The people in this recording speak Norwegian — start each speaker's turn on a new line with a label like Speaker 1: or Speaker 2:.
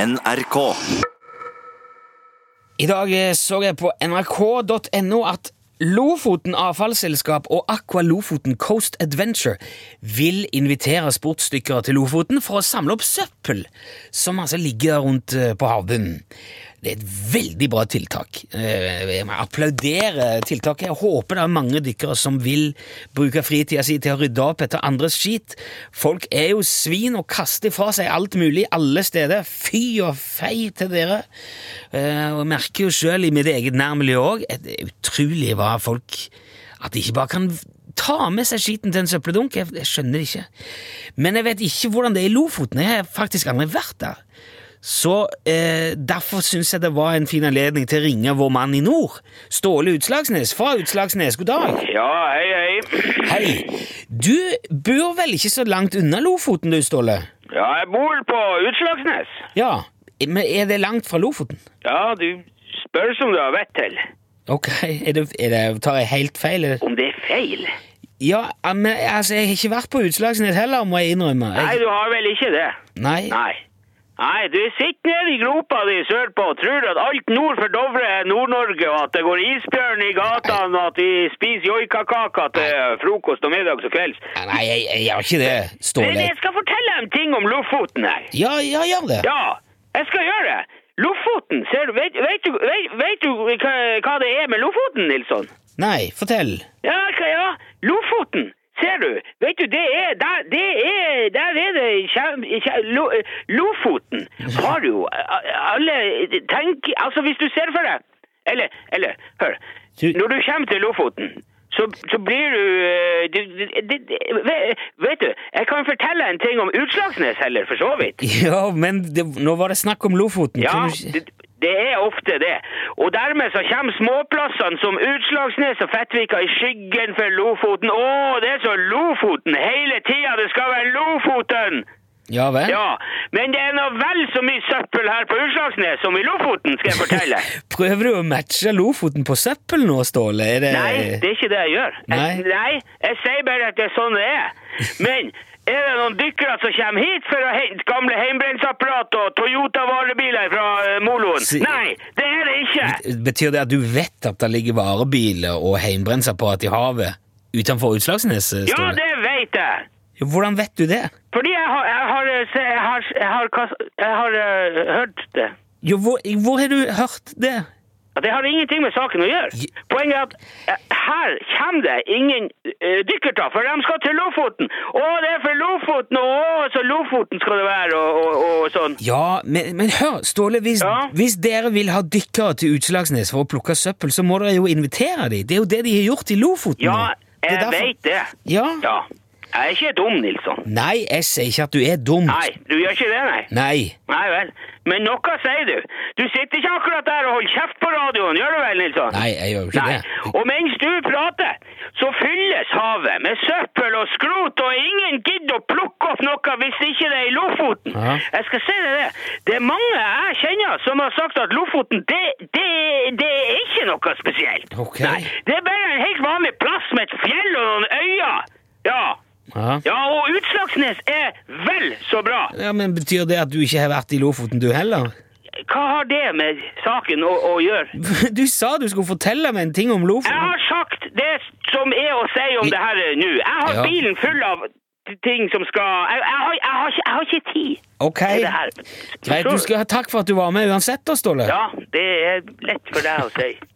Speaker 1: NRK.
Speaker 2: I dag eh, så jeg på nrk.no at Lofoten Avfallsselskap og Aqua Lofoten Coast Adventure vil invitere sportsdykkere til Lofoten for å samle opp søppel som altså ligger rundt eh, på havbunnen. Det er et veldig bra tiltak. Eh, Jeg applauderer tiltaket. Jeg håper det er mange dykkere som vil bruke fritida si til å rydde opp etter andres skit. Folk er jo svin og kaster fra seg alt mulig alle steder. Fy og fei til dere. Eh, Og jeg merker jo sjøl i mitt eget nærmiljø òg at det er utrolig hva folk At de ikke bare kan ta med seg skiten til en søppeldunk. Jeg, jeg skjønner det ikke. Men jeg vet ikke hvordan det er i Lofoten. Jeg har faktisk aldri vært der. Så eh, Derfor syns jeg det var en fin anledning til å ringe vår mann i nord, Ståle Utslagsnes fra Utslagsnes. God dag!
Speaker 3: Ja, hei, hei.
Speaker 2: Hei! Du bor vel ikke så langt unna Lofoten, du, Ståle?
Speaker 3: Ja, jeg bor på Utslagsnes.
Speaker 2: Ja, men er det langt fra Lofoten?
Speaker 3: Ja, du spør som du har vett til.
Speaker 2: Ok, er det, er det, tar jeg helt feil? Er det?
Speaker 3: Om det er feil?
Speaker 2: Ja, men altså, jeg har ikke vært på Utslagsnes heller, må jeg innrømme.
Speaker 3: Nei,
Speaker 2: Jeg,
Speaker 3: du har vel ikke det?
Speaker 2: nei.
Speaker 3: Nei. Nei, du sitter nede i gropa di sørpå og tror at alt nord for Dovre er Nord-Norge, og at det går isbjørn i gatene, og at vi spiser joikakaker til frokost og middags og kvelds.
Speaker 2: Ah, Nei, jeg, jeg gjør ikke det,
Speaker 3: Men
Speaker 2: Ståle.
Speaker 3: jeg skal fortelle en ting om Lofoten her.
Speaker 2: Ja, ja, gjør det.
Speaker 3: Ja, jeg skal gjøre det. Lofoten, ser du, vet, vet du, vet, vet du hva, hva det er med Lofoten, Nilsson?
Speaker 2: Nei, fortell.
Speaker 3: Ja, hva ja? Lofoten, ser du. Vet du, det er Der, det er, der er det kjem, kjem, lo, Lofoten har jo eh, alle Tenk Altså, hvis du ser for deg Eller, eller hør.
Speaker 2: Du-
Speaker 3: Når du kommer til Lofoten så, så blir du, eh, du, du, du, du vet, vet du, jeg kan fortelle en ting om Utslagsnes heller, for så vidt.
Speaker 2: Ja, men det, nå var det snakk om Lofoten.
Speaker 3: Ja,
Speaker 2: Kan du ikke-
Speaker 3: det, det er ofte det. Og dermed så kommer småplassene som Utslagsnes og Fettvika i skyggen for Lofoten. Å, det er så Lofoten hele tida! Det skal være Lofoten!
Speaker 2: ja vel?
Speaker 3: Ja, men det er nå vel så mye søppel her på Utslagsnes som i Lofoten, skal jeg fortelle.
Speaker 2: Prøver du å matche Lofoten på søppel nå, Ståle? Er det...
Speaker 3: Nei, det er ikke det jeg gjør. Jeg,
Speaker 2: Eh. Nei.
Speaker 3: nei, jeg sier bare at det er sånn det er. Men er det noen dykkere som kommer hit for å hente gamle heimbrensapparat og Toyota-varebiler fra eh, moloen?
Speaker 2: Si-
Speaker 3: Nei, det er det ikke!
Speaker 2: Betyr det at du vet at det ligger varebiler og heimbrensapparat i havet utenfor Utslagsnes, Ståle?
Speaker 3: Ja, det vet jeg!
Speaker 2: Hvordan vet du det?
Speaker 3: Fordi jeg har, jeg har, eh, se- jeg har, jeg har, kass- jeg har eh, hørt det.
Speaker 2: Jo, hvor, hvor har du hørt det?
Speaker 3: At Det har ingenting med saken å gjøre.
Speaker 2: Je-
Speaker 3: Poenget er at eh, her kommer det ingen uh, dykkerter, for de skal til Lofoten. Å, det er for Lofoten, og å, så Lofoten skal det være, og, og, og sånn.
Speaker 2: Ja, men, men hør, Ståle, hvis,
Speaker 3: Ja?
Speaker 2: hvis dere vil ha dykkere til Utslagsnes for å plukke søppel, så må dere jo invitere dem. Det er jo det de har gjort i Lofoten.
Speaker 3: Ja,
Speaker 2: nå. Det er
Speaker 3: jeg
Speaker 2: derfor-
Speaker 3: vet det.
Speaker 2: Ja?
Speaker 3: Ja. Jeg er ikke dum, Nilsson.
Speaker 2: Nei, jeg sier ikke at du er dum.
Speaker 3: Nei, du gjør ikke det, nei.
Speaker 2: Nei.
Speaker 3: Nei vel. Men noe sier du. Du sitter ikke akkurat der og holder kjeft på radioen, gjør du vel, Nilsson?
Speaker 2: Nei, jeg gjør jo ikke
Speaker 3: Nei.
Speaker 2: det.
Speaker 3: Og mens du prater, så fylles havet med søppel og skrot, og ingen gidder å plukke opp noe hvis ikke det er i Lofoten.
Speaker 2: Ja.
Speaker 3: Jeg skal si deg det. Det er mange jeg kjenner som har sagt at Lofoten, det, det, det er ikke noe spesielt.
Speaker 2: Ok.
Speaker 3: Nei, det er bare en helt vanlig plass med et fjell og noen øyer. Ja.
Speaker 2: Ja.
Speaker 3: Ja, og Utslagsnes er vel så bra.
Speaker 2: Ja, men Betyr det at du ikke har vært i Lofoten, du heller?
Speaker 3: Hva har det med saken å, å gjøre?
Speaker 2: Du sa du skulle fortelle meg en ting om
Speaker 3: Jeg
Speaker 2: Lofoten.
Speaker 3: har sagt det som er å si om det her eh, nå. Jeg har
Speaker 2: Ja.
Speaker 3: bilen full av t- ting som skal Jeg, jeg, har, jeg, har, ikke, jeg har ikke tid
Speaker 2: Ok,
Speaker 3: til det her.
Speaker 2: greit. Du skal ha takk for at du var med uansett, da, Ståle.
Speaker 3: Ja, det er lett for deg å si.